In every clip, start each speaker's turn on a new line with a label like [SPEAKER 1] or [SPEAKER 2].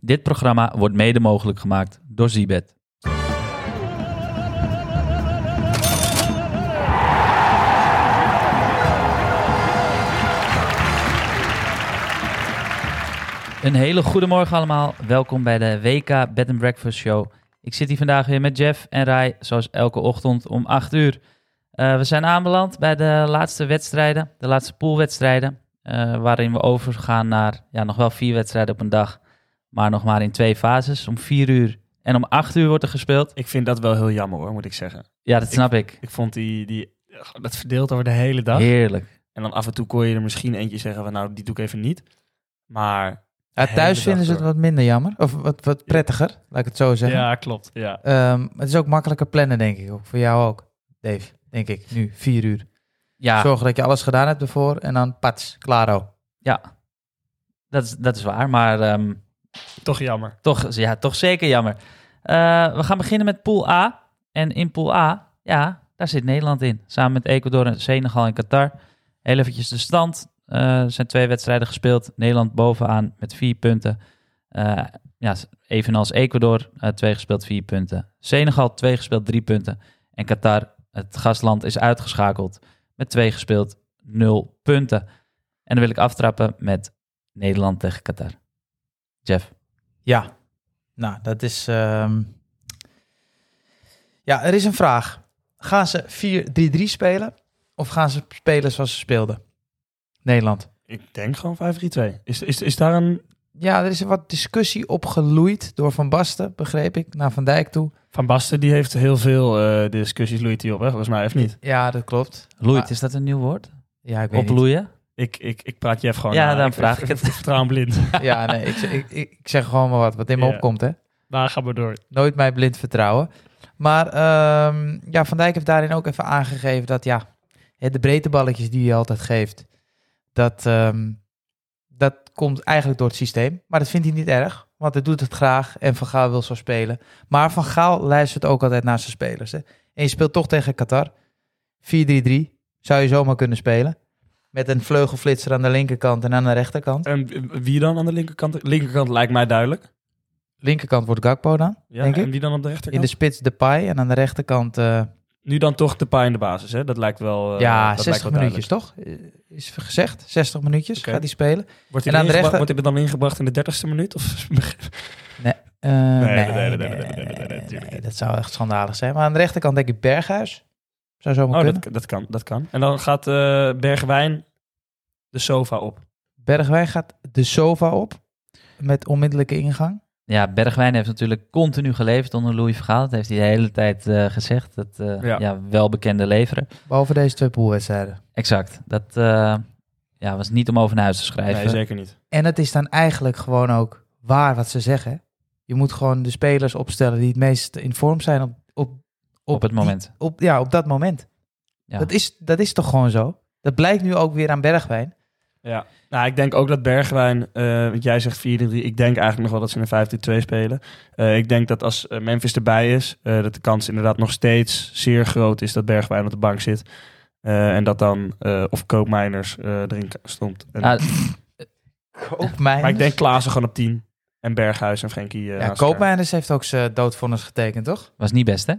[SPEAKER 1] Dit programma wordt mede mogelijk gemaakt door Zibet. Een hele goede morgen allemaal. Welkom bij de WK Bed and Breakfast Show. Ik zit hier vandaag weer met Jeff en Rai, zoals elke ochtend om 8 uur. Eh, we zijn aanbeland bij de laatste wedstrijden, de laatste poolwedstrijden, eh, waarin we overgaan naar ja, nog wel vier wedstrijden op een dag, maar nog maar in twee fases. Om 4 uur en om 8 uur wordt er gespeeld.
[SPEAKER 2] Ik vind dat wel heel jammer hoor, moet ik zeggen.
[SPEAKER 1] Ja, dat snap ik.
[SPEAKER 2] Ik vond die, die dat verdeeld over de hele dag.
[SPEAKER 1] Heerlijk.
[SPEAKER 2] En dan af en toe kon je er misschien eentje zeggen van nou, die doe ik even niet. Maar
[SPEAKER 3] Ja,
[SPEAKER 2] Hele
[SPEAKER 3] thuis
[SPEAKER 2] dag
[SPEAKER 3] vinden ze het
[SPEAKER 2] door.
[SPEAKER 3] wat minder jammer. Of wat, wat prettiger, laat ik het zo zeggen.
[SPEAKER 2] klopt. Ja.
[SPEAKER 3] Ehm, het is ook makkelijker plannen, denk ik. Ook voor jou ook, Dave. Denk ik, nu, vier uur.
[SPEAKER 1] Ja,
[SPEAKER 3] Zorg dat je alles gedaan hebt ervoor en dan pats, klaro.
[SPEAKER 1] dat is, dat is waar, maar ehm,
[SPEAKER 2] Toch jammer.
[SPEAKER 1] Toch, ja, toch zeker jammer. Eh, we gaan beginnen met Pool A. En in Pool A, ja, daar zit Nederland in. Samen met Ecuador en Senegal en Qatar. Heel eventjes de stand. Eh, er zijn twee wedstrijden gespeeld. Nederland bovenaan met vier punten. Eh, ja, evenals Ecuador, eh, twee gespeeld, vier punten. Senegal, twee gespeeld, drie punten. En Qatar, het gastland, is uitgeschakeld. Met twee gespeeld, nul punten. En dan wil ik aftrappen met Nederland tegen Qatar. Jeff.
[SPEAKER 3] Ja, nou, dat is... ehm, Ja, er is een vraag. Gaan ze 4-3-3 spelen of gaan ze spelen zoals ze speelden? Nederland.
[SPEAKER 2] Ik denk gewoon 5-3-2. Is, is, is daar een
[SPEAKER 3] Ja, er is wat discussie opgeloeid door Van Basten, begreep ik, naar Van Dijk toe.
[SPEAKER 2] Van Basten die heeft heel veel eh, discussies loeit hij op, hè? Volgens mij of niet.
[SPEAKER 3] Ja, dat klopt.
[SPEAKER 1] Loeit,
[SPEAKER 3] Maar-
[SPEAKER 1] is dat een nieuw woord?
[SPEAKER 3] Ja, ik weet niet.
[SPEAKER 1] Oploeien?
[SPEAKER 2] Ik, ik, ik praat Jeff gewoon.
[SPEAKER 1] Ja,
[SPEAKER 2] na.
[SPEAKER 1] dan vraag ik het.
[SPEAKER 2] Vertrouw hem blind.
[SPEAKER 3] Ja, nee, ik, zeg- ik, ik ik zeg gewoon maar wat, wat in me
[SPEAKER 2] Ja.
[SPEAKER 3] opkomt, hè.
[SPEAKER 2] Daar gaan we Nou, door.
[SPEAKER 3] Nooit mij blind vertrouwen. Maar ehm, ja, Van Dijk heeft daarin ook even aangegeven dat, ja, hè, de breedteballetjes die hij altijd geeft, dat, ehm, dat komt eigenlijk door het systeem. Maar dat vindt hij niet erg, want hij doet het graag en Van Gaal wil zo spelen. Maar Van Gaal luistert ook altijd naar zijn spelers, hè. En je speelt toch tegen Qatar. 4-3-3 zou je zomaar kunnen spelen. Met een vleugelflitser aan de linkerkant en aan de rechterkant.
[SPEAKER 2] En wie dan aan de linkerkant? Linkerkant lijkt mij duidelijk.
[SPEAKER 3] Linkerkant wordt Gakpo dan.
[SPEAKER 2] Ja,
[SPEAKER 3] Denk ik.
[SPEAKER 2] en wie dan op de
[SPEAKER 3] In
[SPEAKER 2] rechterkant?
[SPEAKER 3] de spits Depay en aan de rechterkant... eh,
[SPEAKER 2] Nu dan toch de paai in de basis, hè? Dat lijkt wel. eh,
[SPEAKER 3] ja,
[SPEAKER 2] dat
[SPEAKER 3] 60
[SPEAKER 2] lijkt wel
[SPEAKER 3] minuutjes toch? Eh, Is gezegd, 60 minuutjes
[SPEAKER 2] Oké.
[SPEAKER 3] gaat hij spelen.
[SPEAKER 2] Wordt
[SPEAKER 3] En aan de
[SPEAKER 2] ingeba-
[SPEAKER 3] rechter-
[SPEAKER 2] wordt hij dan ingebracht in de 30ste minuut? Of...
[SPEAKER 3] Eh,
[SPEAKER 2] nee,
[SPEAKER 3] nee,
[SPEAKER 2] nee, nee,
[SPEAKER 3] nee,
[SPEAKER 2] nee, nee,
[SPEAKER 3] nee,
[SPEAKER 2] nee, nee,
[SPEAKER 3] nee,
[SPEAKER 2] tuurlijk
[SPEAKER 3] nee,
[SPEAKER 2] niet.
[SPEAKER 3] dat zou echt schandalig zijn. Maar aan de rechterkant denk ik Berghuis. Zou zomaar
[SPEAKER 2] Oh,
[SPEAKER 3] kunnen.
[SPEAKER 2] dat, dat, kan, dat kan. En dan gaat eh, Bergwijn de sofa op.
[SPEAKER 3] Bergwijn gaat de sofa op met onmiddellijke ingang.
[SPEAKER 1] Ja, Bergwijn heeft natuurlijk continu geleverd onder Louis Vergaal. Dat heeft hij de hele tijd eh, gezegd. Dat eh, ja.
[SPEAKER 2] Ja.
[SPEAKER 1] welbekende leveren.
[SPEAKER 3] Behalve deze twee poolwedstrijden.
[SPEAKER 1] Exact. Dat eh, ja, was niet om over naar huis te schrijven.
[SPEAKER 2] Nee, zeker niet.
[SPEAKER 3] En het is dan eigenlijk gewoon ook waar wat ze zeggen. hè? Je moet gewoon de spelers opstellen die het meest in vorm zijn op, op, op,
[SPEAKER 1] op het
[SPEAKER 3] die-
[SPEAKER 1] moment.
[SPEAKER 3] op, ja, op dat moment.
[SPEAKER 1] Ja.
[SPEAKER 3] Dat, is, dat is toch gewoon zo? Dat blijkt nu ook weer aan Bergwijn.
[SPEAKER 2] Ja. Nou, ik denk ook dat Bergwijn, eh, want jij zegt 4-3, ik denk eigenlijk nog wel dat ze een 5-2 spelen. Eh, ik denk dat als eh, Memphis erbij is, eh, dat de kans inderdaad nog steeds zeer groot is dat Bergwijn op de bank zit. Eh, en dat dan, eh, of Koopmijners eh erin k- stond. En-
[SPEAKER 1] Ah,
[SPEAKER 3] Ook mijn.
[SPEAKER 2] maar ik denk Klaassen gewoon op 10 en Berghuis en Frenkie. eh,
[SPEAKER 3] Ja,
[SPEAKER 2] naast elkaar.
[SPEAKER 3] Koopmeiners heeft ook zijn doodvonnis getekend, toch?
[SPEAKER 1] was niet best, hè?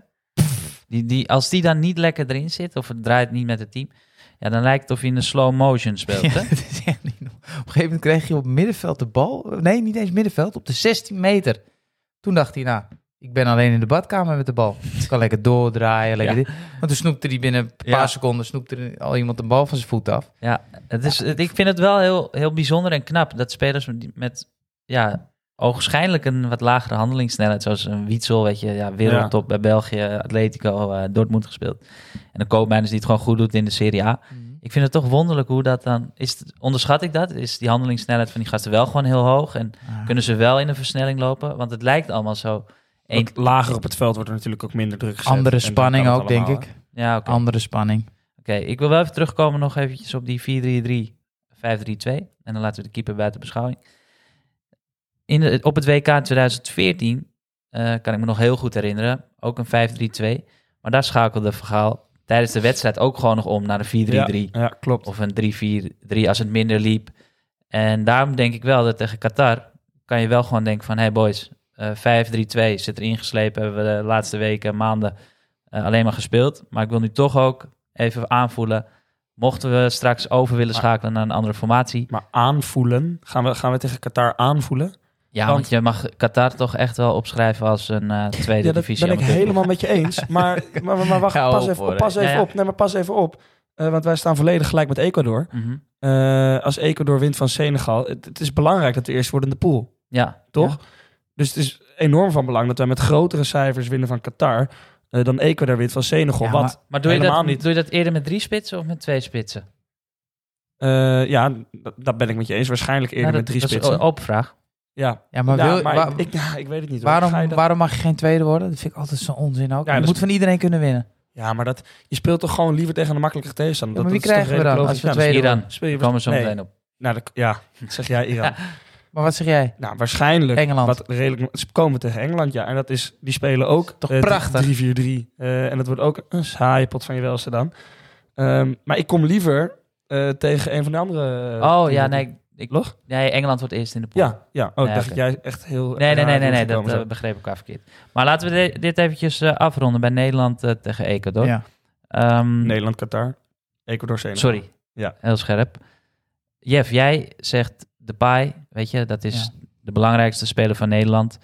[SPEAKER 1] Die, die, als die dan niet lekker erin zit of het draait niet met het team... Ja, dan lijkt het of hij in een slow motion speelt,
[SPEAKER 3] Ja,
[SPEAKER 1] hè?
[SPEAKER 3] dat is echt niet normaal. Op een gegeven moment kreeg hij op middenveld de bal. Nee, niet eens middenveld, op de 16 meter. Toen dacht hij, nou, ik ben alleen in de badkamer met de bal. Ik kan lekker doordraaien. Lekker
[SPEAKER 1] Ja.
[SPEAKER 3] dit. Want toen snoepte hij binnen een paar
[SPEAKER 1] Ja.
[SPEAKER 3] seconden snoepte er al iemand de bal van zijn voet
[SPEAKER 1] Mhm.
[SPEAKER 3] af.
[SPEAKER 1] Het is, het- ik vind het wel heel, heel bijzonder en knap dat spelers met, met, ja, ogenschijnlijk een wat lagere handelingssnelheid, zoals een Wietsel, weet je, ja, wereldtop bij België, Atletico, eh, Dortmund gespeeld. En een koopmijners die het gewoon goed doet in de Serie
[SPEAKER 2] Ah.
[SPEAKER 1] A. Ik vind het toch wonderlijk hoe dat dan is. het- Onderschat ik dat? Is die handelingssnelheid van die gasten wel gewoon heel hoog? En
[SPEAKER 3] Ah.
[SPEAKER 1] kunnen ze wel in een versnelling lopen? Want het lijkt allemaal zo. Eén,
[SPEAKER 2] Want lager op het veld wordt er natuurlijk ook minder druk gezet.
[SPEAKER 3] Andere
[SPEAKER 2] En dan
[SPEAKER 3] spanning
[SPEAKER 2] kan het
[SPEAKER 3] ook, denk
[SPEAKER 2] allemaal,
[SPEAKER 3] ik.
[SPEAKER 1] ja, oké.
[SPEAKER 3] Andere spanning.
[SPEAKER 1] Oké, ik wil wel even terugkomen nog eventjes op die 4-3-3, 5-3-2. En dan laten we de keeper buiten beschouwing. In de- op het WK 2014 eh, kan ik me nog heel goed herinneren. Ook een 5-3-2. Maar daar schakelde Vergaal tijdens de wedstrijd ook gewoon nog om naar een 4-3-3.
[SPEAKER 2] hè. Ja, ja, klopt.
[SPEAKER 1] Of een 3-4-3 als het minder liep. En daarom denk ik wel dat tegen Qatar kan je wel gewoon denken van... hey boys, eh 5-3-2 zit erin geslepen. Hebben we de laatste weken, maanden eh, alleen maar gespeeld. Maar ik wil nu toch ook even aanvoelen... mochten we straks over willen
[SPEAKER 2] Maar-
[SPEAKER 1] schakelen naar een andere formatie...
[SPEAKER 2] Maar aanvoelen, gaan we, gaan we tegen Qatar aanvoelen?
[SPEAKER 1] Ja, want,
[SPEAKER 2] Want-
[SPEAKER 1] je mag Qatar toch echt wel opschrijven als een eh, tweede
[SPEAKER 2] Ja, dat
[SPEAKER 1] divisie.
[SPEAKER 2] ben ik
[SPEAKER 1] amateur.
[SPEAKER 2] helemaal met je eens. Maar, maar, maar, maar wacht,
[SPEAKER 3] Hou
[SPEAKER 2] pas
[SPEAKER 3] op,
[SPEAKER 2] even,
[SPEAKER 3] hoor.
[SPEAKER 2] op, pas
[SPEAKER 1] Ja,
[SPEAKER 2] even
[SPEAKER 1] ja.
[SPEAKER 2] op. Nee, maar pas even op. Eh, want wij staan volledig gelijk met Ecuador.
[SPEAKER 1] Mhm.
[SPEAKER 2] Eh, als Ecuador wint van Senegal, het, het is belangrijk dat we eerst worden in de pool,
[SPEAKER 1] Ja,
[SPEAKER 2] toch? Dus het is enorm van belang dat wij met grotere cijfers winnen van Qatar eh, dan Ecuador wint van Senegal.
[SPEAKER 3] Ja,
[SPEAKER 2] Want
[SPEAKER 3] maar-
[SPEAKER 1] Maar doe je,
[SPEAKER 2] Helemaal
[SPEAKER 1] dat,
[SPEAKER 2] niet.
[SPEAKER 1] doe je dat eerder met drie spitsen of met twee spitsen?
[SPEAKER 2] Eh, ja, dat, dat ben ik met je eens. Waarschijnlijk eerder
[SPEAKER 1] Nou, dat,
[SPEAKER 2] met drie
[SPEAKER 1] dat is
[SPEAKER 2] spitsen.
[SPEAKER 1] een open vraag.
[SPEAKER 2] ja,
[SPEAKER 3] Ja, maar,
[SPEAKER 2] Ja,
[SPEAKER 3] wil,
[SPEAKER 2] Nou, maar
[SPEAKER 3] wa-
[SPEAKER 2] ik, ik, ja, ik weet het niet. hoor. Ga je
[SPEAKER 3] waarom,
[SPEAKER 2] dat-
[SPEAKER 3] waarom mag je geen tweede worden? Dat vind ik altijd zo'n onzin ook.
[SPEAKER 2] Ja,
[SPEAKER 3] je
[SPEAKER 2] dat
[SPEAKER 3] moet
[SPEAKER 2] is-
[SPEAKER 3] van iedereen kunnen winnen.
[SPEAKER 2] ja, maar dat, je speelt toch gewoon liever tegen een makkelijker tegenstander.
[SPEAKER 3] Ja, maar
[SPEAKER 2] Dat-
[SPEAKER 3] wie
[SPEAKER 2] dat is
[SPEAKER 3] krijgen we
[SPEAKER 2] toch
[SPEAKER 3] dan
[SPEAKER 2] redelijk
[SPEAKER 3] als we
[SPEAKER 2] logisch?
[SPEAKER 3] tweede
[SPEAKER 1] Iran.
[SPEAKER 3] worden?
[SPEAKER 2] Ja, speel je
[SPEAKER 1] Daar komen we zo
[SPEAKER 2] nee.
[SPEAKER 1] meteen op.
[SPEAKER 2] Nou, dat- ja, dat zeg jij Iran.
[SPEAKER 3] Maar wat zeg jij?
[SPEAKER 2] Nou, waarschijnlijk.
[SPEAKER 3] Engeland.
[SPEAKER 2] Wat redelijk, ze komen tegen Engeland, ja. En dat is, die spelen ook
[SPEAKER 3] Toch
[SPEAKER 2] eh,
[SPEAKER 3] prachtig.
[SPEAKER 2] 3-4-3. Eh, en dat wordt ook een saaie pot van je welste dan. Ehm, maar ik kom liever eh, tegen een van de andere... eh,
[SPEAKER 1] Oh ja,
[SPEAKER 2] ploegen.
[SPEAKER 1] nee, ik,
[SPEAKER 2] Log?
[SPEAKER 1] nee, Engeland wordt eerst in de pool.
[SPEAKER 2] Ja, ja. Oh,
[SPEAKER 1] Nee,
[SPEAKER 2] ik dacht
[SPEAKER 1] oké.
[SPEAKER 2] dat jij echt heel...
[SPEAKER 1] Nee, nee,
[SPEAKER 2] raar
[SPEAKER 1] nee, nee, nee
[SPEAKER 2] bent
[SPEAKER 1] dat
[SPEAKER 2] gekomen,
[SPEAKER 1] eh,
[SPEAKER 2] zo.
[SPEAKER 1] begreep ik elkaar verkeerd. Maar laten we de- dit eventjes eh, afronden bij Nederland eh, tegen Ecuador.
[SPEAKER 3] Ja. eh,
[SPEAKER 1] Ehm,
[SPEAKER 2] Nederland, Qatar, Ecuador, Senegal.
[SPEAKER 1] Sorry,
[SPEAKER 2] Ja.
[SPEAKER 1] heel scherp. Jeff, jij zegt Depay, weet je, dat is de belangrijkste speler van Nederland.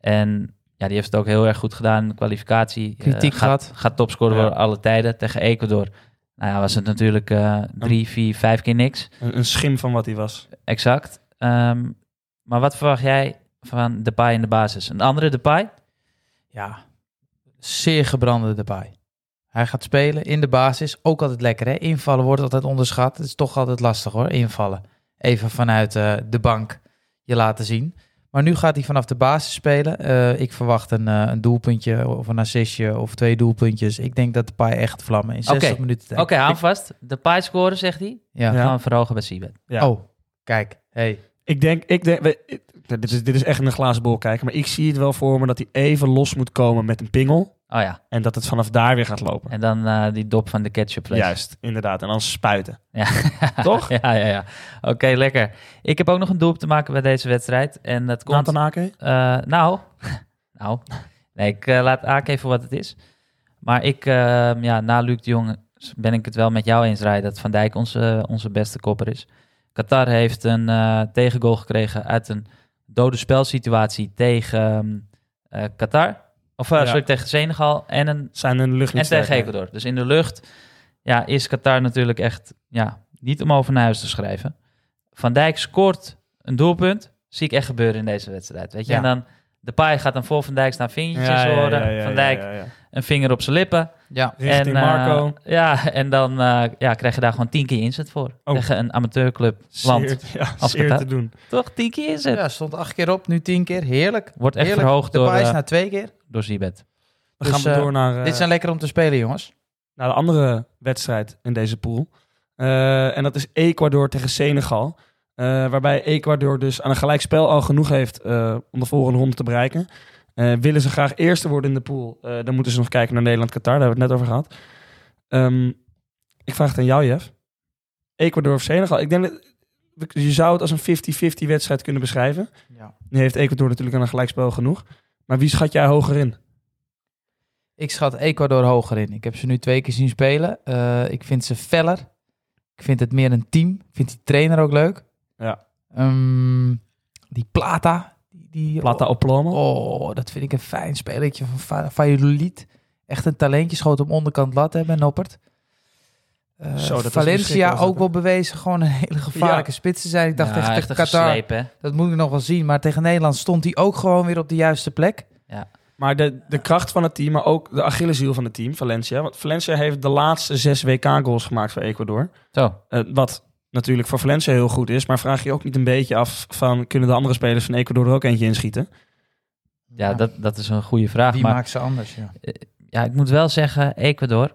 [SPEAKER 1] En ja, die heeft het ook heel erg goed gedaan in de kwalificatie. Eh,
[SPEAKER 3] Kritiek
[SPEAKER 1] gaat,
[SPEAKER 3] gehad.
[SPEAKER 1] gaat topscorer
[SPEAKER 2] Ja.
[SPEAKER 1] worden alle tijden tegen Ecuador. Nou ja, was het natuurlijk eh, drie, vier, vijf keer niks.
[SPEAKER 2] Een, een schim van wat hij was.
[SPEAKER 1] Exact. Ehm, maar wat verwacht jij van Depay in de basis? Een andere Depay?
[SPEAKER 3] Ja, zeer gebrande erbij. Hij gaat spelen in de basis. Ook altijd lekker, hè? Invallen wordt altijd onderschat. Het is toch altijd lastig, hoor, invallen. Even vanuit eh, de bank je laten zien. Maar nu gaat hij vanaf de basis spelen. Eh, ik verwacht een, eh, een doelpuntje of een assistje of twee doelpuntjes. Ik denk dat de paai echt vlammen in 60
[SPEAKER 1] Oké.
[SPEAKER 3] minuten tijd.
[SPEAKER 1] Oké, aan vast. Depay scoren, zegt hij.
[SPEAKER 3] Ja.
[SPEAKER 2] Ja.
[SPEAKER 1] Gaan we verhogen bij Siebet.
[SPEAKER 2] Ja.
[SPEAKER 3] Oh, kijk. Hey.
[SPEAKER 2] Ik denk, ik denk we- ik- dit, is, dit is echt in een glazen bol kijken, maar ik zie het wel voor me dat hij even los moet komen met een pingel
[SPEAKER 1] Oh ja,
[SPEAKER 2] en dat het vanaf daar weer gaat lopen.
[SPEAKER 1] en dan eh, die dop van de ketchupfles.
[SPEAKER 2] Juist, inderdaad. En dan spuiten.
[SPEAKER 1] Ja.
[SPEAKER 2] Toch?
[SPEAKER 1] Ja, ja, ja. Oké, lekker. Ik heb ook nog een doel te maken bij deze wedstrijd. En dat komt...
[SPEAKER 2] Nathan Ake?
[SPEAKER 1] eh, nou, nou. Nee, ik eh, laat AK voor wat het is. Maar ik, eh, ja, na Luc de Jong ben ik het wel met jou eens, Rai, dat Van Dijk onze, onze beste kopper is. Qatar heeft een eh, tegengoal gekregen uit een dode spelsituatie tegen eh, Qatar. Of eh,
[SPEAKER 2] Ja.
[SPEAKER 1] sorry, tegen Senegal. En een
[SPEAKER 2] Zijn in de lucht niet
[SPEAKER 1] en tegen
[SPEAKER 2] sterker.
[SPEAKER 1] Ecuador. Dus in de lucht ja, is Qatar natuurlijk echt ja, niet om over naar huis te schrijven. Van Dijk scoort een doelpunt. Zie ik echt gebeuren in deze wedstrijd. Weet je?
[SPEAKER 3] Ja.
[SPEAKER 1] En dan Depay gaat dan voor Van Dijk staan vingertjes horen. Van Dijk
[SPEAKER 2] ja, ja.
[SPEAKER 1] een vinger op zijn lippen.
[SPEAKER 3] Ja,
[SPEAKER 2] Richting
[SPEAKER 1] en, eh,
[SPEAKER 2] Marco.
[SPEAKER 1] ja, en dan eh, ja, krijg je daar gewoon tien keer inzet voor.
[SPEAKER 2] Oh.
[SPEAKER 1] Tegen een amateurclub land.
[SPEAKER 2] Zeer, ja,
[SPEAKER 1] als
[SPEAKER 2] zeer
[SPEAKER 1] Qatar.
[SPEAKER 2] te doen.
[SPEAKER 1] Toch tien keer inzet.
[SPEAKER 3] ja, stond acht keer op, nu tien keer. Heerlijk.
[SPEAKER 1] Wordt echt
[SPEAKER 3] Heerlijk.
[SPEAKER 1] verhoogd
[SPEAKER 3] De
[SPEAKER 1] door,
[SPEAKER 3] paai is
[SPEAKER 1] eh,
[SPEAKER 3] naar twee keer.
[SPEAKER 1] door Zibet.
[SPEAKER 2] Dan
[SPEAKER 3] Dus,
[SPEAKER 2] gaan we
[SPEAKER 3] eh,
[SPEAKER 2] door naar, eh,
[SPEAKER 3] Dit zijn lekker om te spelen, jongens.
[SPEAKER 2] naar de andere wedstrijd in deze pool. Eh, en dat is Ecuador tegen Senegal. Eh, waarbij Ecuador dus aan een gelijkspel al genoeg heeft eh, om de volgende ronde te bereiken. Eh, willen ze graag eerste worden in de pool, eh, dan moeten ze nog kijken naar Nederland-Qatar. Daar hebben we het net over gehad. Ehm, ik vraag het aan jou, Jeff. Ecuador of Senegal? Ik denk dat je zou het als een 50-50 wedstrijd kunnen beschrijven.
[SPEAKER 3] Ja.
[SPEAKER 2] Nu heeft Ecuador natuurlijk aan een gelijkspel genoeg. Maar wie schat jij hoger in?
[SPEAKER 3] Ik schat Ecuador hoger in. Ik heb ze nu twee keer zien spelen. Eh, ik vind ze feller. Ik vind het meer een team. Ik vind die trainer ook leuk.
[SPEAKER 2] Ja.
[SPEAKER 3] Ehm, die Plata. Die,
[SPEAKER 2] Plata op Plomo?
[SPEAKER 3] Oh, dat vind ik een fijn spelertje van Va- Valladolid. Echt een talentje. Schoot hem onderkant lat hebben, Noppert. Eh,
[SPEAKER 2] Zo, dat was
[SPEAKER 3] Valencia
[SPEAKER 2] verschrikkelijk, was
[SPEAKER 3] ook wel bewezen gewoon een hele gevaarlijke spits te zijn. Ik dacht
[SPEAKER 1] Ja,
[SPEAKER 3] echt,
[SPEAKER 1] een
[SPEAKER 3] tegen Qatar,
[SPEAKER 1] geslepen, hè?
[SPEAKER 3] dat moet ik nog wel zien. Maar tegen Nederland stond hij ook gewoon weer op de juiste plek.
[SPEAKER 2] Maar de, de kracht van het team, maar ook de Achilleshiel van het team, Valencia. Want Valencia heeft de laatste zes WK-goals gemaakt voor Ecuador.
[SPEAKER 1] Zo,
[SPEAKER 2] Eh, wat natuurlijk voor Valencia heel goed is. Maar vraag je je ook niet een beetje af van... kunnen de andere spelers van Ecuador er ook eentje inschieten?
[SPEAKER 1] ja, Dat, dat is een goede vraag.
[SPEAKER 3] die
[SPEAKER 1] maar
[SPEAKER 3] maakt ze anders, ja.
[SPEAKER 1] ja, ik moet wel zeggen, Ecuador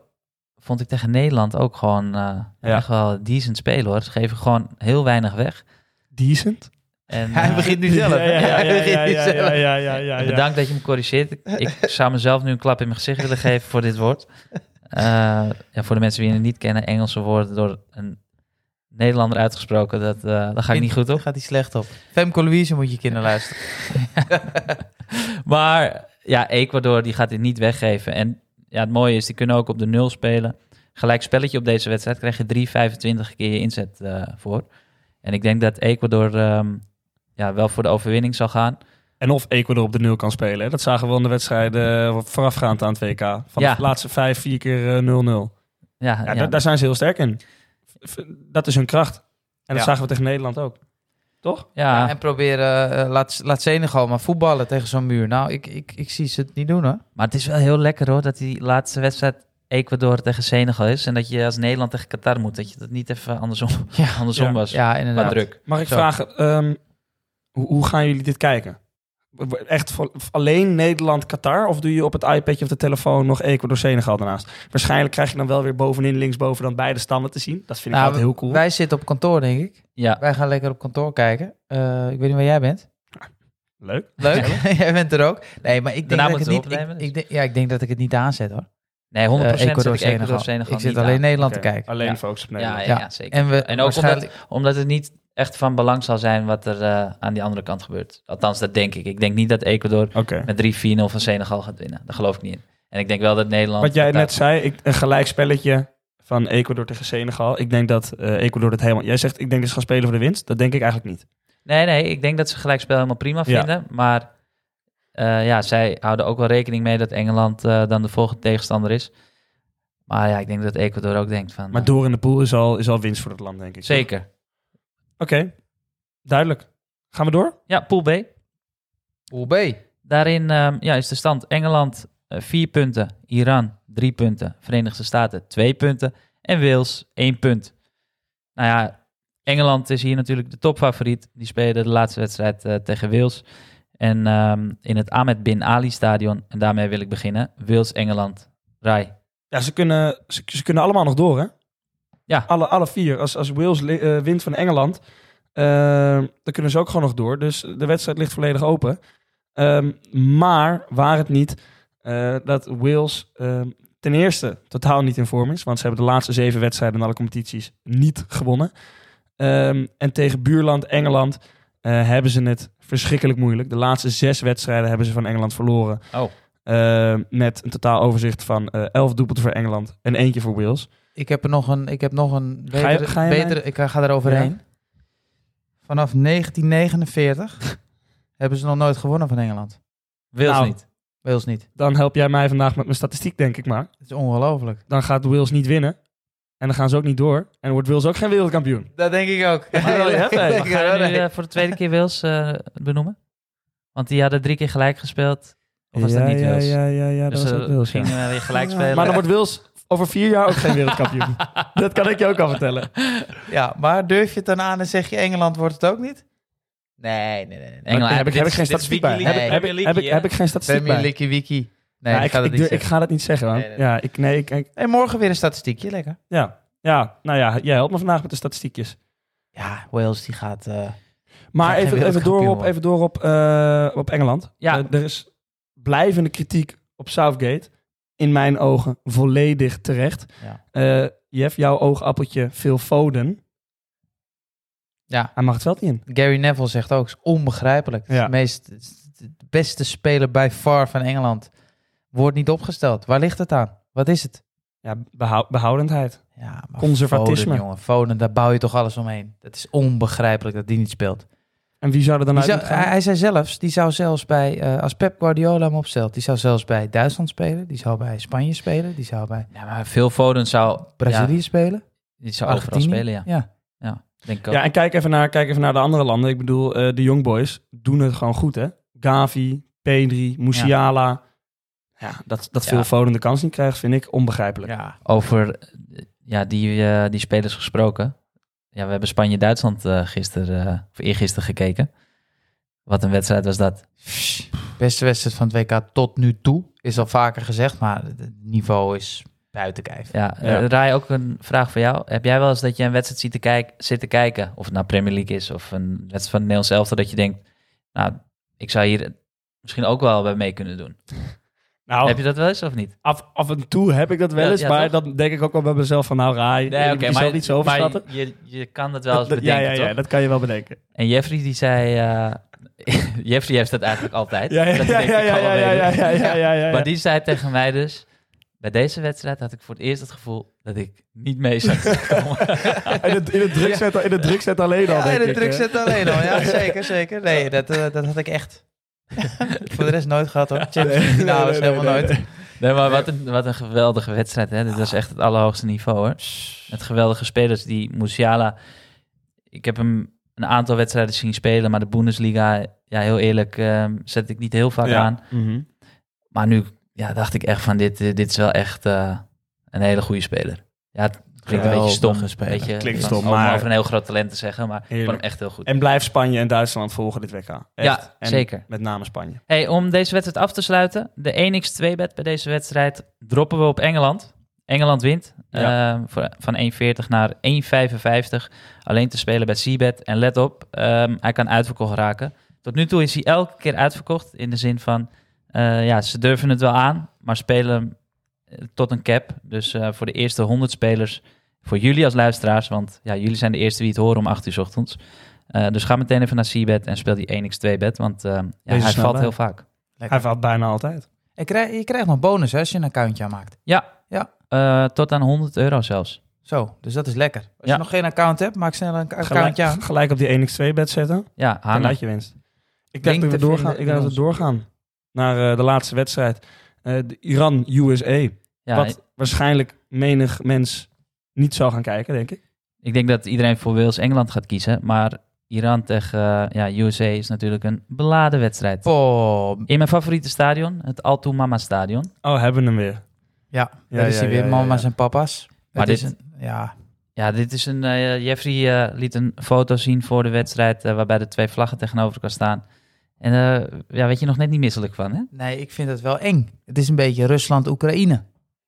[SPEAKER 1] vond ik tegen Nederland ook gewoon eh,
[SPEAKER 2] Ja.
[SPEAKER 1] echt wel decent spelen hoor. Ze geven gewoon heel weinig weg.
[SPEAKER 2] Decent?
[SPEAKER 1] En,
[SPEAKER 3] Hij
[SPEAKER 1] eh,
[SPEAKER 3] begint nu zelf. Hij begint nu zelf.
[SPEAKER 2] ja, ja, ja, ja.
[SPEAKER 1] Bedankt dat je me corrigeert. Ik, ik zou mezelf nu een klap in mijn gezicht willen geven voor dit woord. Eh, ja, voor de mensen die het niet kennen, Engelse woorden door een Nederlander uitgesproken, dat, eh daar ga ik niet goed op.
[SPEAKER 3] Daar gaat hij slecht op. Femke Louise moet je kinderen luisteren.
[SPEAKER 1] Maar ja, Ecuador die gaat dit niet weggeven. En ja, het mooie is, die kunnen ook op de nul spelen. Gelijk spelletje op deze wedstrijd krijg je 3,25 keer je inzet eh, voor. En ik denk dat Ecuador ehm, ja, wel voor de overwinning zal gaan.
[SPEAKER 2] En of Ecuador op de nul kan spelen. hè. Dat zagen we in de wedstrijden eh, voorafgaand aan het WK. Van
[SPEAKER 1] Ja.
[SPEAKER 2] de laatste vijf, vier keer eh, 0-0.
[SPEAKER 1] Ja, ja,
[SPEAKER 2] Ja, da- Daar zijn ze heel sterk in. V- Dat is hun kracht. En dat
[SPEAKER 3] Ja.
[SPEAKER 2] zagen we tegen Nederland ook.
[SPEAKER 1] ja.
[SPEAKER 3] Ja, en proberen, eh, laat, laat Senegal maar voetballen tegen zo'n muur. Nou, ik, ik, ik zie ze het niet doen hoor.
[SPEAKER 1] maar het is wel heel lekker hoor, dat die laatste wedstrijd Ecuador tegen Senegal is. En dat je als Nederland tegen Qatar moet. Dat je dat niet even andersom,
[SPEAKER 3] Ja.
[SPEAKER 1] andersom
[SPEAKER 2] Ja.
[SPEAKER 1] was.
[SPEAKER 3] Ja, inderdaad.
[SPEAKER 1] Qua druk.
[SPEAKER 2] Mag ik
[SPEAKER 3] Zo.
[SPEAKER 2] vragen, ehm, hoe, hoe gaan jullie dit kijken? Echt voor, alleen Nederland-Qatar? Of doe je op het iPadje of de telefoon nog Ecuador-Senegal daarnaast? Waarschijnlijk krijg je dan wel weer bovenin, linksboven dan beide standen te zien. Dat vind ik
[SPEAKER 3] Nou,
[SPEAKER 2] altijd heel cool.
[SPEAKER 3] Wij zitten op kantoor, denk ik.
[SPEAKER 1] Ja,
[SPEAKER 3] Wij gaan lekker op kantoor kijken. Eh, ik weet niet waar jij bent.
[SPEAKER 2] Leuk.
[SPEAKER 3] Leuk, jij bent er ook. Nee, maar ik denk,
[SPEAKER 1] Daarna
[SPEAKER 3] dat ik, het
[SPEAKER 1] moeten we
[SPEAKER 3] niet, ik,
[SPEAKER 1] opnemen, dus.
[SPEAKER 3] ik denk, ja, ik denk dat ik het niet aanzet hoor.
[SPEAKER 1] nee, 100%
[SPEAKER 3] Eh,
[SPEAKER 1] zet ik Ecuador, Senegal.
[SPEAKER 3] Ik zit
[SPEAKER 1] niet
[SPEAKER 3] alleen
[SPEAKER 1] aan.
[SPEAKER 3] Nederland te
[SPEAKER 2] Oké,
[SPEAKER 3] kijken.
[SPEAKER 2] Alleen
[SPEAKER 1] Ja.
[SPEAKER 2] focus op
[SPEAKER 1] Ja,
[SPEAKER 2] Nederland.
[SPEAKER 1] ja,
[SPEAKER 3] Ja.
[SPEAKER 1] zeker.
[SPEAKER 3] En, we,
[SPEAKER 1] En ook
[SPEAKER 3] waarschijnlijk,
[SPEAKER 1] Omdat het niet echt van belang zal zijn wat er eh, aan die andere kant gebeurt. Althans, dat denk ik. Ik denk niet dat Ecuador
[SPEAKER 2] Oké.
[SPEAKER 1] met 3-4-0 van Senegal gaat winnen. Daar geloof ik niet in. En ik denk wel dat Nederland...
[SPEAKER 2] Wat jij
[SPEAKER 1] elkaar-
[SPEAKER 2] net zei, ik, een gelijkspelletje van Ecuador tegen Senegal. Ik denk dat eh, Ecuador het helemaal... Jij zegt, ik denk dat ze gaan spelen voor de winst. Dat denk ik eigenlijk niet.
[SPEAKER 1] Nee, nee. Ik denk dat ze gelijkspel helemaal prima
[SPEAKER 2] Ja.
[SPEAKER 1] vinden. Maar eh, ja, zij houden ook wel rekening mee dat Engeland eh, dan de volgende tegenstander is. Maar ja, ik denk dat Ecuador ook denkt van...
[SPEAKER 2] Maar
[SPEAKER 1] eh,
[SPEAKER 2] door in de pool is al, is al winst voor het land, denk ik.
[SPEAKER 1] Zeker.
[SPEAKER 2] Oké, duidelijk. Gaan we door?
[SPEAKER 1] Ja, Pool B.
[SPEAKER 3] Pool B.
[SPEAKER 1] Daarin ehm, ja, is de stand Engeland 4 punten, Iran 3 punten, Verenigde Staten 2 punten en Wales 1 punt. Nou ja, Engeland is hier natuurlijk de topfavoriet. Die spelen de laatste wedstrijd eh, tegen Wales. En ehm, in het Ahmed Bin Ali Stadion, en daarmee wil ik beginnen, Wales-Engeland. Rai.
[SPEAKER 2] Ja, ze kunnen, ze, ze kunnen allemaal nog door, hè?
[SPEAKER 1] Ja.
[SPEAKER 2] Alle, alle vier. Als, als Wales li- eh, wint van Engeland, eh, dan kunnen ze ook gewoon nog door. Dus de wedstrijd ligt volledig open. Ehm, maar waar het niet eh, dat Wales ehm, ten eerste totaal niet in vorm is. Want ze hebben de laatste zeven wedstrijden in alle competities niet gewonnen. Ehm, en tegen buurland Engeland eh, hebben ze het verschrikkelijk moeilijk. De laatste zes wedstrijden hebben ze van Engeland verloren.
[SPEAKER 1] Oh.
[SPEAKER 2] Eh, met een totaal overzicht van eh 11 doelpunten voor Engeland en eentje voor Wales.
[SPEAKER 3] Ik heb er nog een, ik heb nog een betere,
[SPEAKER 2] Ga je- ga je
[SPEAKER 3] betere ik ga er overheen. Vanaf 1949 hebben ze nog nooit gewonnen van Engeland.
[SPEAKER 1] Wales
[SPEAKER 2] Nou.
[SPEAKER 1] niet.
[SPEAKER 3] Wales niet.
[SPEAKER 2] Dan help jij mij vandaag met mijn statistiek, denk ik maar.
[SPEAKER 3] Het is ongelooflijk.
[SPEAKER 2] Dan gaat Wales niet winnen. En dan gaan ze ook niet door. En wordt Wales ook geen wereldkampioen.
[SPEAKER 3] Dat denk ik ook.
[SPEAKER 2] wel, ja, fijn.
[SPEAKER 1] Maar ga je nu eh, voor de tweede keer Wales eh, benoemen? Want die hadden drie keer gelijk gespeeld. Of was dat niet Wales?
[SPEAKER 2] Ja, ja, ja,
[SPEAKER 1] Dus
[SPEAKER 2] dat was
[SPEAKER 1] ze
[SPEAKER 2] ook Wales, ja.
[SPEAKER 1] gingen weer gelijk spelen.
[SPEAKER 2] Maar dan wordt Wales over vier jaar ook geen wereldkampioen. dat kan ik je ook al vertellen.
[SPEAKER 3] Ja, maar durf je het dan aan en zeg je Engeland wordt het ook niet? Nee, nee, nee. nee.
[SPEAKER 1] Engeland,
[SPEAKER 2] heb
[SPEAKER 1] dit
[SPEAKER 2] ik-
[SPEAKER 1] is-
[SPEAKER 2] heb ik geen
[SPEAKER 1] dit is
[SPEAKER 2] statistiek bij.
[SPEAKER 1] Wikileaks.
[SPEAKER 3] Heb ik-
[SPEAKER 2] Heb, ik- heb ik, heb ik geen statistiek
[SPEAKER 3] Premier
[SPEAKER 2] bij.
[SPEAKER 3] League Wiki. Nee,
[SPEAKER 2] Ja,
[SPEAKER 3] ik
[SPEAKER 2] ik,
[SPEAKER 3] ga dat
[SPEAKER 2] ik,
[SPEAKER 3] niet
[SPEAKER 2] durf- ik
[SPEAKER 3] zeggen.
[SPEAKER 2] ga dat niet zeggen, man.
[SPEAKER 3] Nee, nee, nee.
[SPEAKER 2] Ja, ik, nee, ik, ik-
[SPEAKER 3] En morgen weer een statistiekje, lekker.
[SPEAKER 2] ja. ja, nou ja, jij helpt me vandaag met de statistiekjes.
[SPEAKER 3] Ja, Wales die gaat... eh,
[SPEAKER 2] Maar
[SPEAKER 3] Gaat geen
[SPEAKER 2] even, even door op,
[SPEAKER 3] wereldkampioen
[SPEAKER 2] even door op, eh, op Engeland.
[SPEAKER 1] Ja.
[SPEAKER 2] Eh, er is blijvende kritiek op Southgate. In mijn ogen volledig terecht.
[SPEAKER 3] Ja.
[SPEAKER 2] Eh, Jeff, jouw oogappeltje Phil Foden.
[SPEAKER 3] Ja.
[SPEAKER 2] Hij mag het veld niet in.
[SPEAKER 3] Gary Neville zegt ook, is onbegrijpelijk. Het is
[SPEAKER 2] Ja.
[SPEAKER 3] de, meest, het is de beste speler by far van Engeland wordt niet opgesteld. Waar ligt het aan? Wat is het?
[SPEAKER 2] Ja, behou- behoudendheid.
[SPEAKER 3] Ja, maar
[SPEAKER 2] Conservatisme.
[SPEAKER 3] Foden, jongen, Foden, daar bouw je toch alles omheen. Het is onbegrijpelijk dat die niet speelt.
[SPEAKER 2] En wie zou er dan
[SPEAKER 3] Die
[SPEAKER 2] uit
[SPEAKER 3] zou-
[SPEAKER 2] moeten
[SPEAKER 3] hij,
[SPEAKER 2] gaan?
[SPEAKER 3] hij zei zelfs, die zou zelfs bij, eh, als Pep Guardiola hem opstelt, die zou zelfs bij Duitsland spelen, die zou bij Spanje spelen, die zou bij
[SPEAKER 1] Ja, maar Phil Foden zou...
[SPEAKER 3] Brazilië spelen,
[SPEAKER 1] Ja, die zou overal
[SPEAKER 3] Argentinië.
[SPEAKER 1] spelen, ja.
[SPEAKER 3] ja.
[SPEAKER 1] Denk ik ook.
[SPEAKER 2] Ja, en kijk even, naar, kijk even naar de andere landen. Ik bedoel, eh, de Young Boys doen het gewoon goed, hè? Gavi, Pedri, Musiala. Ja, dat, dat
[SPEAKER 1] Ja.
[SPEAKER 2] Phil Foden de kans niet krijgt, vind ik onbegrijpelijk.
[SPEAKER 3] Ja.
[SPEAKER 1] Over eh, ja, die, eh, die spelers gesproken. Ja, we hebben Spanje-Duitsland eh gisteren, eh, of eergisteren gekeken. Wat een wedstrijd was dat.
[SPEAKER 3] Beste wedstrijd van het WK tot nu toe, is al vaker gezegd, maar het niveau is buiten kijf.
[SPEAKER 1] Ja,
[SPEAKER 2] Ja.
[SPEAKER 1] eh, Rai, ook een vraag voor jou. Heb jij wel eens dat je een wedstrijd ziet te kijk, zit te kijken, of het nou Premier League is, of een wedstrijd van het Nederlands elftal, dat je denkt, nou, ik zou hier misschien ook wel bij mee kunnen doen.
[SPEAKER 2] Nou,
[SPEAKER 1] Heb je dat wel eens of niet?
[SPEAKER 2] af, af en toe heb ik dat wel
[SPEAKER 1] Ja,
[SPEAKER 2] eens,
[SPEAKER 1] ja,
[SPEAKER 2] maar
[SPEAKER 1] toch?
[SPEAKER 2] dan denk ik ook wel bij mezelf van, nou raai, nee, je zal niet zo overschatten.
[SPEAKER 1] maar je, je kan dat wel eens
[SPEAKER 2] Dat-
[SPEAKER 1] bedenken,
[SPEAKER 2] ja, ja, ja,
[SPEAKER 1] toch?
[SPEAKER 2] dat kan je wel bedenken.
[SPEAKER 1] En Jeffrey die zei... eh, Jeffrey heeft dat eigenlijk altijd.
[SPEAKER 2] Ja, ja,
[SPEAKER 1] dat hij
[SPEAKER 2] ja,
[SPEAKER 1] denkt,
[SPEAKER 2] ja,
[SPEAKER 1] ik
[SPEAKER 2] ja,
[SPEAKER 1] kan wel
[SPEAKER 2] ja, ja,
[SPEAKER 1] meedoen.
[SPEAKER 2] ja, ja, ja, ja, ja.
[SPEAKER 1] Maar die zei tegen mij dus... Bij deze wedstrijd had ik voor het eerst het gevoel dat ik niet mee zou komen.
[SPEAKER 2] In het, in het drukzet, in het drukzet alleen al,
[SPEAKER 3] Ja,
[SPEAKER 2] denk
[SPEAKER 3] de
[SPEAKER 2] ik,
[SPEAKER 3] druk
[SPEAKER 2] hè.
[SPEAKER 3] zit alleen al. Ja, zeker, zeker. Nee, dat, eh, dat had ik echt. Voor de rest nooit gehad hoor. Champions League
[SPEAKER 1] Nou,
[SPEAKER 2] Nee, nee,
[SPEAKER 3] finales
[SPEAKER 2] nee,
[SPEAKER 3] helemaal
[SPEAKER 2] nee,
[SPEAKER 3] nooit.
[SPEAKER 2] nee.
[SPEAKER 1] Nee, maar wat een, wat een geweldige wedstrijd. Hè? Dit was echt het allerhoogste niveau hoor. Met geweldige spelers. Die Musiala. Ik heb hem een aantal wedstrijden zien spelen. Maar de Bundesliga, ja, heel eerlijk, ehm, zet ik niet heel vaak
[SPEAKER 2] Ja.
[SPEAKER 1] aan.
[SPEAKER 2] Mhm.
[SPEAKER 1] Maar nu ja, dacht ik echt van dit, eh, dit is wel echt eh, een hele goede speler. Ja, het klinkt een beetje stom.
[SPEAKER 3] Geweldige speler.
[SPEAKER 1] Weet je,
[SPEAKER 2] Klinkt
[SPEAKER 1] van-
[SPEAKER 2] stom,
[SPEAKER 1] om
[SPEAKER 2] maar-
[SPEAKER 1] over een heel groot talent te zeggen. Maar ik vond hem
[SPEAKER 2] Heerlijk.
[SPEAKER 1] echt heel goed.
[SPEAKER 2] En blijf Spanje en Duitsland volgen dit WK. Echt.
[SPEAKER 1] Ja,
[SPEAKER 2] En
[SPEAKER 1] zeker.
[SPEAKER 2] Met name Spanje.
[SPEAKER 1] Hey, om deze wedstrijd af te sluiten. De 1x2-bet bij deze wedstrijd droppen we op Engeland. Engeland wint
[SPEAKER 2] Ja.
[SPEAKER 1] eh, voor- van 1,40 naar 1,55. Alleen te spelen bij Seabed. En let op, ehm, hij kan uitverkocht raken. Tot nu toe is hij elke keer uitverkocht. In de zin van, eh, ja, ze durven het wel aan, maar spelen hem, eh, tot een cap. Dus eh, voor de eerste 100 spelers, voor jullie als luisteraars. Want ja, jullie zijn de eerste die het horen om 8 uur 's ochtends. Eh, dus ga meteen even naar Seabed en speel die 1x2-bet. Want ehm, ja,
[SPEAKER 2] Wees
[SPEAKER 1] hij
[SPEAKER 2] er snel
[SPEAKER 1] valt
[SPEAKER 2] bij.
[SPEAKER 1] heel vaak.
[SPEAKER 2] Hij
[SPEAKER 3] Lekker.
[SPEAKER 2] valt bijna altijd.
[SPEAKER 3] Je krijgt, je krijgt nog bonus hè, als je een accountje aanmaakt.
[SPEAKER 1] Eh, tot aan 100 euro zelfs.
[SPEAKER 3] Zo, dus dat is lekker. Als
[SPEAKER 1] Ja.
[SPEAKER 3] je nog geen account hebt, maak snel een accountje aan.
[SPEAKER 2] Gelijk op die 1x2-bed zetten.
[SPEAKER 1] Ja,
[SPEAKER 2] Dan
[SPEAKER 1] Hanna.
[SPEAKER 2] laat je winst. Ik denk
[SPEAKER 3] Denk
[SPEAKER 2] dat we
[SPEAKER 3] te vinden
[SPEAKER 2] doorgaan, ik
[SPEAKER 3] in
[SPEAKER 2] denk dat we
[SPEAKER 3] ons-
[SPEAKER 2] doorgaan naar eh, de laatste wedstrijd. Eh, de Iran-USA.
[SPEAKER 1] Ja,
[SPEAKER 2] wat waarschijnlijk menig mens niet zou gaan kijken, denk ik.
[SPEAKER 1] Ik denk dat iedereen voor Wales-Engeland gaat kiezen. Maar Iran tegen eh, ja, USA is natuurlijk een beladen wedstrijd.
[SPEAKER 3] Boom.
[SPEAKER 1] In mijn favoriete stadion, het Al Mama Stadion.
[SPEAKER 2] Oh, hebben we hem weer.
[SPEAKER 3] Ja,
[SPEAKER 2] Ja,
[SPEAKER 3] daar is
[SPEAKER 2] ja,
[SPEAKER 3] hij weer,
[SPEAKER 2] ja, ja,
[SPEAKER 3] mama's
[SPEAKER 2] ja.
[SPEAKER 3] en papa's.
[SPEAKER 1] Maar
[SPEAKER 3] Het is
[SPEAKER 1] dit-
[SPEAKER 3] een- ja,
[SPEAKER 1] Ja, dit is een. eh, Jeffrey eh, liet een foto zien voor de wedstrijd. eh, waarbij de twee vlaggen tegenover elkaar staan. En eh ja, weet je nog net niet misselijk van, hè?
[SPEAKER 3] nee, ik vind het wel eng. Het is een beetje Rusland-Oekraïne,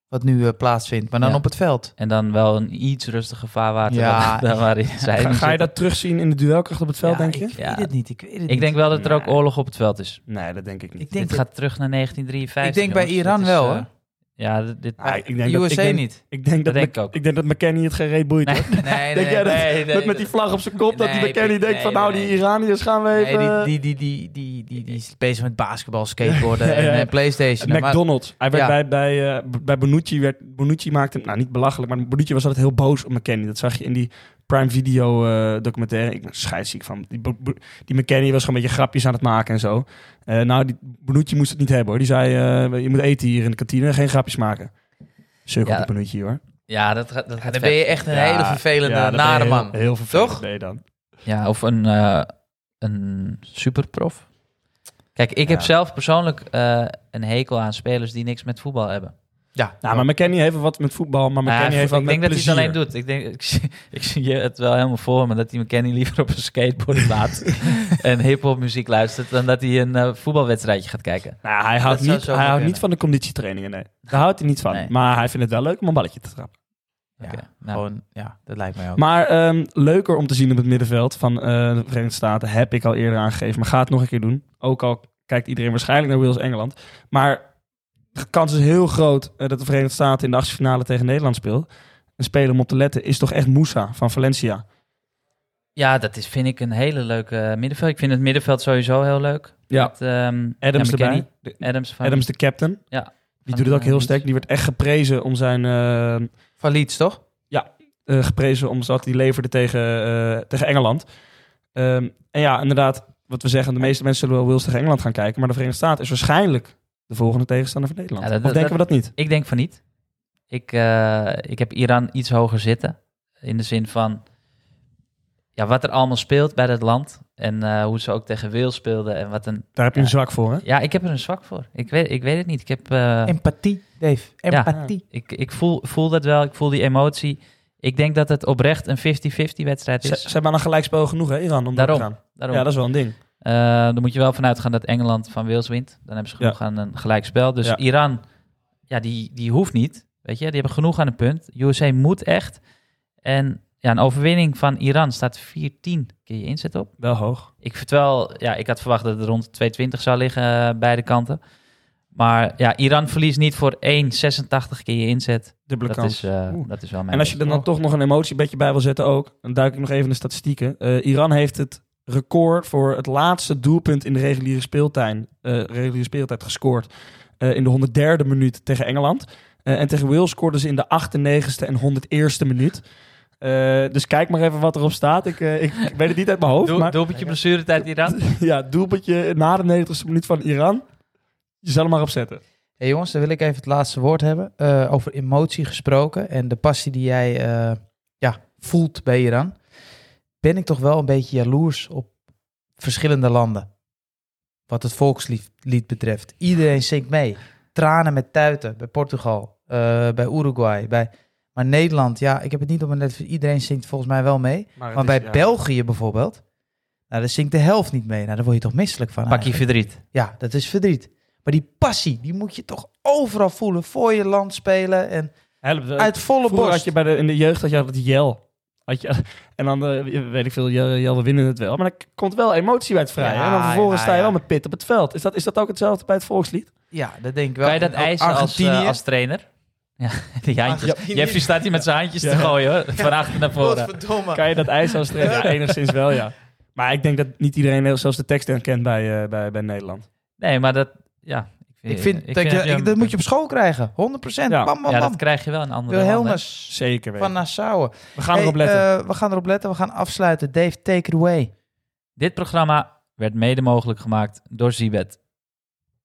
[SPEAKER 3] wat nu eh, plaatsvindt, maar dan
[SPEAKER 1] Ja.
[SPEAKER 3] op het veld.
[SPEAKER 1] En dan wel een iets rustiger vaarwater.
[SPEAKER 3] Ja.
[SPEAKER 1] dan, dan waarin zij
[SPEAKER 2] Ga,
[SPEAKER 1] nu
[SPEAKER 2] ga je
[SPEAKER 1] zitten.
[SPEAKER 2] dat terugzien in de duelkracht op het veld,
[SPEAKER 3] Ja,
[SPEAKER 2] denk je?
[SPEAKER 3] Ik weet
[SPEAKER 1] Ja.
[SPEAKER 3] het niet, ik weet het
[SPEAKER 1] Ik
[SPEAKER 3] niet.
[SPEAKER 1] denk wel dat er ook
[SPEAKER 2] Nee.
[SPEAKER 1] oorlog op het veld is.
[SPEAKER 2] Nee, dat denk ik niet.
[SPEAKER 3] ik denk,
[SPEAKER 1] dit
[SPEAKER 3] dat-
[SPEAKER 1] gaat terug naar 1953.
[SPEAKER 3] ik denk bij
[SPEAKER 1] jongens. Dit
[SPEAKER 3] Iran
[SPEAKER 1] is,
[SPEAKER 3] wel,
[SPEAKER 1] eh,
[SPEAKER 3] hoor.
[SPEAKER 1] Ja, dit- dit,
[SPEAKER 2] Ah, ik denk dat-
[SPEAKER 3] USA
[SPEAKER 2] ik denk-
[SPEAKER 3] niet.
[SPEAKER 2] Ik denk dat,
[SPEAKER 1] denk
[SPEAKER 2] Mc-
[SPEAKER 1] ik ook.
[SPEAKER 2] ik denk dat McKennie het geen reet boeit.
[SPEAKER 1] Nee, nee,
[SPEAKER 2] hoor.
[SPEAKER 3] Nee,
[SPEAKER 2] Denk jij dat-
[SPEAKER 3] nee, nee,
[SPEAKER 2] dat met die vlag op zijn kop, dat die
[SPEAKER 3] Nee,
[SPEAKER 2] McKennie
[SPEAKER 3] Piet,
[SPEAKER 2] denkt van
[SPEAKER 3] nee,
[SPEAKER 2] nou,
[SPEAKER 3] nee,
[SPEAKER 2] die
[SPEAKER 3] nee.
[SPEAKER 2] Iraniërs gaan we even...
[SPEAKER 3] Nee, die, die, die, die, die, die, die is bezig met basketbal, skateboarden
[SPEAKER 2] Ja, ja, ja.
[SPEAKER 3] en eh, Playstation. Maar-
[SPEAKER 2] McDonald's. Hij werd
[SPEAKER 3] Ja.
[SPEAKER 2] bij, bij, eh, b- bij Bonucci, werd, Bonucci maakte hem, nou niet belachelijk, maar Bonucci was altijd heel boos op McKennie. Dat zag je in die Prime Video eh, documentaire. Ik ben scheidsziek van. Die, Bo- Bo- die McKennie was gewoon een beetje grapjes aan het maken en zo. Eh, nou, die Bonucci moest het niet hebben hoor. Die zei, eh, je moet eten hier in de kantine, geen grapjes maken. Sukkel
[SPEAKER 1] Ja.
[SPEAKER 2] die Bonucci hoor.
[SPEAKER 1] Ja, dat gaat, dat
[SPEAKER 3] Ja,
[SPEAKER 1] gaat
[SPEAKER 3] dan
[SPEAKER 1] ver.
[SPEAKER 3] ben je echt een
[SPEAKER 2] Ja,
[SPEAKER 3] hele vervelende,
[SPEAKER 2] ja, dat ben je
[SPEAKER 3] nare
[SPEAKER 2] heel-
[SPEAKER 3] man.
[SPEAKER 2] Heel vervelend
[SPEAKER 3] Toch?
[SPEAKER 2] ben je dan.
[SPEAKER 1] Ja, of een, eh, een superprof. Kijk, ik heb
[SPEAKER 2] Ja.
[SPEAKER 1] zelf persoonlijk eh, een hekel aan spelers die niks met voetbal hebben.
[SPEAKER 3] Ja,
[SPEAKER 2] Nou, maar McKennie heeft wel wat met voetbal, maar McKennie
[SPEAKER 1] Maar ja,
[SPEAKER 2] heeft wat
[SPEAKER 1] ik denk
[SPEAKER 2] met
[SPEAKER 1] dat hij het
[SPEAKER 2] plezier.
[SPEAKER 1] alleen doet. Ik, denk, ik, zie, ik zie je het wel helemaal voor me dat hij McKenny liever op een skateboard laat en hip-hop muziek luistert dan dat hij een eh, voetbalwedstrijdje gaat kijken.
[SPEAKER 2] Nou, hij houdt,
[SPEAKER 3] Dat zou
[SPEAKER 2] niet,
[SPEAKER 3] zomaar
[SPEAKER 2] hij houdt
[SPEAKER 3] kunnen.
[SPEAKER 2] niet van de conditietrainingen, nee. Daar houdt hij niet van.
[SPEAKER 1] Nee.
[SPEAKER 2] Maar hij vindt het wel leuk om een balletje te trappen.
[SPEAKER 3] Ja,
[SPEAKER 1] Oké, nou.
[SPEAKER 3] gewoon, ja, dat lijkt mij ook.
[SPEAKER 2] Maar ehm, leuker om te zien op het middenveld van eh, de Verenigde Staten heb ik al eerder aangegeven. Maar ga het nog een keer doen. Ook al kijkt iedereen waarschijnlijk naar Wales Engeland. Maar de kans is heel groot eh, dat de Verenigde Staten in de achtste finale tegen Nederland speelt. Een speler om op te letten is toch echt Moussa van Valencia.
[SPEAKER 1] Ja, dat is, vind ik een hele leuke eh, middenveld. Ik vind het middenveld sowieso heel leuk.
[SPEAKER 2] Ja.
[SPEAKER 1] Met, ehm,
[SPEAKER 2] Adams
[SPEAKER 1] ja, McKennie,
[SPEAKER 2] erbij. De-
[SPEAKER 1] Adams van,
[SPEAKER 2] Adams de captain.
[SPEAKER 1] Ja.
[SPEAKER 2] Die
[SPEAKER 1] Van,
[SPEAKER 2] doet het ook
[SPEAKER 1] eh,
[SPEAKER 2] heel
[SPEAKER 1] Leeds.
[SPEAKER 2] sterk. Die wordt echt geprezen om zijn... eh,
[SPEAKER 3] Van Leeds, toch?
[SPEAKER 2] eh, geprezen omdat hij leverde tegen, eh, tegen Engeland. Ehm, en ja, inderdaad, wat we zeggen, de meeste mensen zullen wel Wales tegen Engeland gaan kijken. Maar de Verenigde Staten is waarschijnlijk de volgende tegenstander van Nederland.
[SPEAKER 1] Ja, dat-
[SPEAKER 2] of denken we dat niet?
[SPEAKER 1] Ik denk van niet. Ik, eh, ik heb Iran iets hoger zitten. In de zin van ja, wat er allemaal speelt bij dat land. En eh, hoe ze ook tegen Wales speelden. En wat een,
[SPEAKER 2] Daar heb je een
[SPEAKER 1] Ja.
[SPEAKER 2] zwak voor, hè?
[SPEAKER 1] ja, ik heb er een zwak voor. Ik weet, ik weet het niet. Ik, heb, eh,
[SPEAKER 3] Empathie, Dave. Empathie.
[SPEAKER 1] ik, ik voel, voel dat wel. Ik voel die emotie. Ik denk dat het oprecht een 50-50 wedstrijd
[SPEAKER 2] Ze,
[SPEAKER 1] is.
[SPEAKER 2] ze hebben aan een gelijkspel genoeg, hè, Iran, om door
[SPEAKER 1] Daarom.
[SPEAKER 2] te gaan.
[SPEAKER 1] Daarom.
[SPEAKER 2] Ja, dat is wel een ding.
[SPEAKER 1] Eh, dan moet je wel vanuit gaan dat Engeland van Wales wint. Dan hebben ze genoeg aan een gelijkspel. Dus
[SPEAKER 2] Ja.
[SPEAKER 1] Iran, ja, die, die hoeft niet. Weet je, die hebben genoeg aan een punt. USA moet echt. En ja, een overwinning van Iran staat 4-10 keer je inzet op.
[SPEAKER 2] Wel hoog.
[SPEAKER 1] Ik vertel, ja, ik had verwacht dat het rond 220 zou liggen, eh, beide kanten. Maar ja, Iran verliest niet voor 1,86 keer je inzet.
[SPEAKER 2] Dubbele
[SPEAKER 1] Dat
[SPEAKER 2] kans.
[SPEAKER 1] is, eh,
[SPEAKER 2] Oeh.
[SPEAKER 1] dat is wel mijn
[SPEAKER 2] En als je er dan toch nog een emotie een beetje bij wil zetten ook, dan duik ik nog even in de statistieken. Eh, Iran heeft het record voor het laatste doelpunt in de reguliere speeltijd, reguliere speeltijd gescoord eh, in de 103e minuut tegen Engeland. Eh, en tegen Wales scoorden ze in de 98e en 101e minuut. Eh, dus kijk maar even wat erop staat. Ik, eh, ik, ik weet het niet uit mijn hoofd.
[SPEAKER 1] Doe,
[SPEAKER 2] maar
[SPEAKER 1] Doelpuntje blessuretijd Iran.
[SPEAKER 2] ja, doelpuntje na de 90e minuut van Iran. Je zal hem maar opzetten.
[SPEAKER 3] Hey jongens, dan wil ik even het laatste woord hebben. Eh, over emotie gesproken en de passie die jij eh, ja, voelt bij Iran. Ben ik toch wel een beetje jaloers op verschillende landen. Wat het volkslied betreft. Iedereen zingt mee. Tranen met tuiten bij Portugal, eh, bij Uruguay. Bij... Maar Nederland, ja, ik heb het niet op mijn net. Iedereen zingt volgens mij wel mee.
[SPEAKER 2] Maar,
[SPEAKER 3] Maar bij België bijvoorbeeld, nou, daar zingt de helft niet mee. Nou, daar word je toch misselijk van.
[SPEAKER 1] Pak je
[SPEAKER 3] eigenlijk.
[SPEAKER 1] verdriet.
[SPEAKER 3] Ja, dat is verdriet. Maar die passie, die moet je toch overal voelen. Voor je land spelen en uit
[SPEAKER 2] Vroeger
[SPEAKER 3] volle
[SPEAKER 2] had
[SPEAKER 3] borst.
[SPEAKER 2] Eh, je bij de, in de jeugd had je altijd jel. Had je, en dan, eh, weet ik veel, jel, jel, we winnen het wel. Maar dan komt wel emotie bij het vrij.
[SPEAKER 3] Ja,
[SPEAKER 2] en dan vervolgens
[SPEAKER 3] ja,
[SPEAKER 2] sta je
[SPEAKER 3] ja.
[SPEAKER 2] wel met pit op het veld. Is dat, is dat ook hetzelfde bij het volkslied?
[SPEAKER 3] Ja, dat denk ik wel.
[SPEAKER 1] Kan je dat
[SPEAKER 3] En ook
[SPEAKER 1] eisen als,
[SPEAKER 3] Argentinië.
[SPEAKER 1] eh, als trainer? Ja, die handjes.
[SPEAKER 3] Argentinië.
[SPEAKER 1] Jeffrey staat hier met zijn handjes te gooien hoor. Van achter naar voren.
[SPEAKER 3] Godverdomme.
[SPEAKER 2] Kan je dat ijs als trainer? Ja, enigszins wel, ja. Maar ik denk dat niet iedereen heel- zelfs de tekst herkent bij, eh, bij, bij Nederland.
[SPEAKER 1] Nee, maar dat... Ja,
[SPEAKER 3] Ik vind, dat, je,
[SPEAKER 1] hem-
[SPEAKER 3] ik- dat moet je op school krijgen. 100%.
[SPEAKER 2] Ja.
[SPEAKER 3] Bam, bam,
[SPEAKER 1] Ja,
[SPEAKER 3] bam.
[SPEAKER 1] dat krijg je wel in andere landen.
[SPEAKER 3] Wilhelmus
[SPEAKER 2] Zeker weten.
[SPEAKER 3] van Nassau.
[SPEAKER 2] We gaan erop
[SPEAKER 3] Hey,
[SPEAKER 2] letten.
[SPEAKER 3] eh, we gaan erop letten. We gaan afsluiten. Dave, take it away.
[SPEAKER 1] Dit programma werd mede mogelijk gemaakt door Zibet.